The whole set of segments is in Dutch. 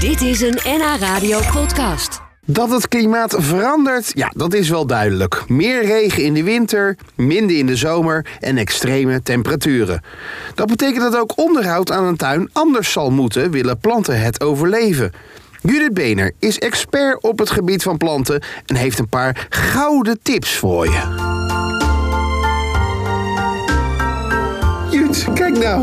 Dit is een NH Radio podcast. Dat het klimaat verandert, ja, dat is wel duidelijk. Meer regen in de winter, minder in de zomer en extreme temperaturen. Dat betekent dat ook onderhoud aan een tuin anders zal moeten, willen planten het overleven. Judith Bener is expert op het gebied van planten en heeft een paar gouden tips voor je. Jut, kijk nou.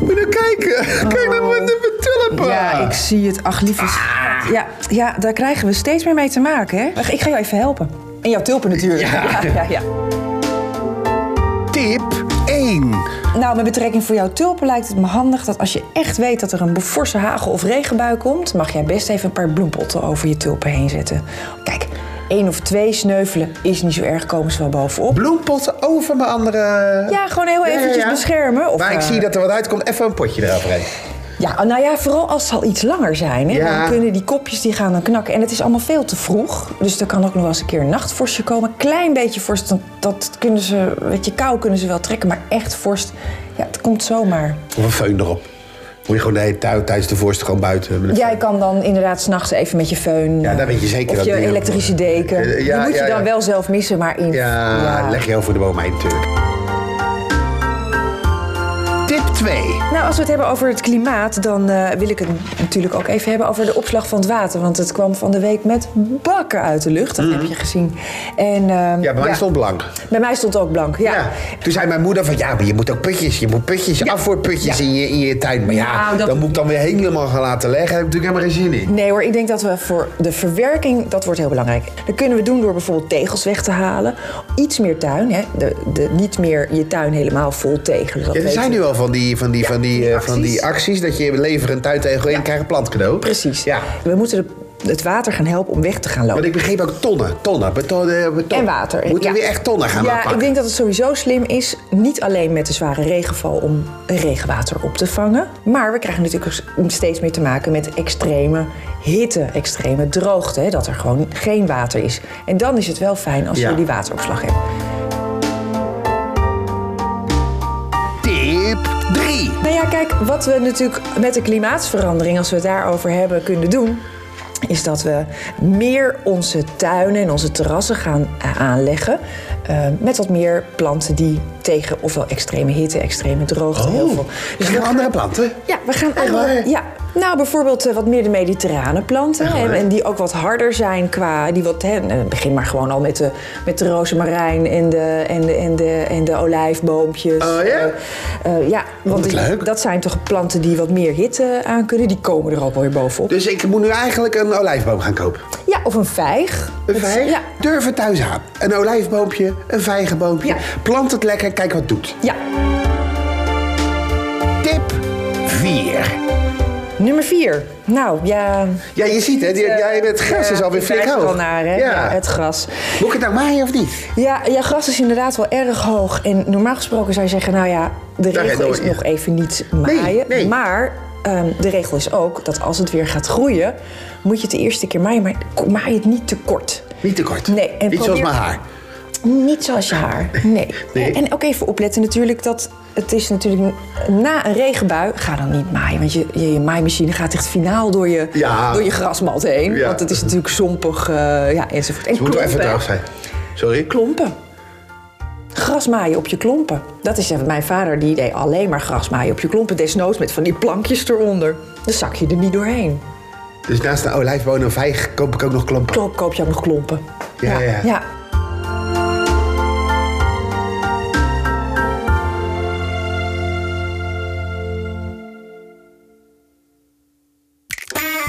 Moet je nou kijken. Kijk naar mijn, mijn tulpen. Ja, ik zie het. Ach, lieve. schat. Ja, ja, daar krijgen we steeds meer mee te maken, hè? Wacht, ik ga jou even helpen. En jouw tulpen natuurlijk. Ja. ja, ja. Tip 1. Nou, met betrekking voor jouw tulpen lijkt het me handig dat als je echt weet dat er een forse hagel of regenbui komt, mag jij best even een paar bloempotten over je tulpen heen zetten. Kijk, één of twee sneuvelen is niet zo erg, komen ze wel bovenop. bloempotten over mijn andere. eh, Ja, gewoon heel eventjes beschermen. Of, maar ik eh, zie dat er wat uitkomt. Even een potje eroverheen. Ja, nou ja, vooral als ze al iets langer zijn. Hè, Ja. Dan kunnen die kopjes die gaan dan knakken. En het is allemaal veel te vroeg. Dus er kan ook nog wel eens een keer een nachtvorstje komen. Klein beetje vorst, dan- dat kunnen ze, weet je, kou kunnen ze wel trekken. Maar echt vorst, ja, het komt zomaar. Of een feun erop. Moet je gewoon nee, tijdens de voorste gewoon buiten. met een Jij föhn. kan dan inderdaad s'nachts even met je föhn... Ja, daar weet je zeker Of dat je die- elektrische deken. Eh, ja, die moet ja, je dan ja. wel zelf missen, maar in... Ja, leg je over de boom heen natuurlijk. Tip 2. Nou, als we het hebben over het klimaat, dan eh, wil ik het natuurlijk ook even hebben over de opslag van het water. Want het kwam van de week met bakken uit de lucht, dat heb je gezien. En, ehm, Mhm. Ja, bij mij stond blank. Bij mij stond het ook blank, ja. Ja. Toen zei mijn moeder van ja, maar je moet ook putjes. Je moet putjes, afvoerputjes in, je, in je tuin. Maar ja, Nou, dat- dan moet ik dan weer helemaal gaan laten leggen. Daar heb ik natuurlijk helemaal geen zin in. Nee hoor, ik denk dat we voor de verwerking, dat wordt heel belangrijk. Dat kunnen we doen door bijvoorbeeld tegels weg te halen. Iets meer tuin, hè. De, de, niet meer je tuin helemaal vol tegelen. dat Ja, er weten zijn we. nu al van die, van die, van die, die eh, van die acties dat je lever een tuintegel in en krijg een plantcadeau. Precies. Ja. We moeten de- het water gaan helpen om weg te gaan lopen. Want ik begreep ook tonnen, tonnen, beton, eh, beton. En water. Moeten we Ja. weer echt tonnen gaan Ja, aanpakken? ik denk dat het sowieso slim is. Niet alleen met de zware regenval om regenwater op te vangen. Maar we krijgen natuurlijk ook steeds meer te maken met extreme hitte, extreme droogte. Hè, dat er gewoon geen water is. En dan is het wel fijn als Ja. je die wateropslag hebt. Tip 3. Nou ja, kijk, wat we natuurlijk met de klimaatsverandering, als we het daarover hebben, kunnen doen. Is dat we meer onze tuinen en onze terrassen gaan eh, aanleggen. eh, met wat meer planten die tegen ofwel extreme hitte, extreme droogte, Oh, heel veel. Dus Geen we- andere planten? Ja, we gaan Echt waar? andere- ja, nou bijvoorbeeld eh, wat meer de mediterrane planten. hè, en die ook wat harder zijn qua. Die wat, hè, eh, begin maar gewoon al met de, met de rozemarijn en de, en de, en de, en de olijfboompjes. Oh, ja? Eh, eh, ja, want wat die- leuk. dat zijn toch planten die wat meer hitte aan kunnen. Die komen er ook wel weer bovenop. Dus ik moet nu eigenlijk een olijfboom gaan kopen. Ja, of een vijg. Een vijg? Ja. Durf het thuis aan. Een olijfboompje, een vijgenboompje. Ja. Plant het lekker, kijk wat het doet. ja. Tip 4. Nummer vier. Nou, ja... Ja, je ziet het. jij- Jij, het gras is eh, Ja, alweer ik flink kijk er hoog. al naar, hè? Ja. ja, het gras. Moet ik het nou maaien of niet? Ja, ja, gras is inderdaad wel erg hoog. En normaal gesproken zou je zeggen, nou ja, de Daar regel gaat is nooit- nog even niet maaien. nee. Maar ehm, de regel is ook dat als het weer gaat groeien, moet je het de eerste keer maaien, maar maai het niet te kort. Niet te kort. Nee, en niet zoals probeer- mijn haar. Niet zoals je haar. Nee. Nee. En ook even opletten natuurlijk dat het is natuurlijk na een regenbui ga dan niet maaien, want je, je, je maaimachine gaat echt finaal door je, Ja. door je grasmat heen, Ja. want het is natuurlijk zompig eh, ja, enzovoort. En Het moet wel even klompen, hè? droog zijn. Sorry? klompen. Gras maaien op je klompen. Dat is mijn vader, die deed alleen maar gras maaien op je klompen. Desnoods met van die plankjes eronder. Dan zak je er niet doorheen. Dus naast een olijfboom en vijg koop ik ook nog klompen. Klopt, koop je ook nog klompen. Ja, ja.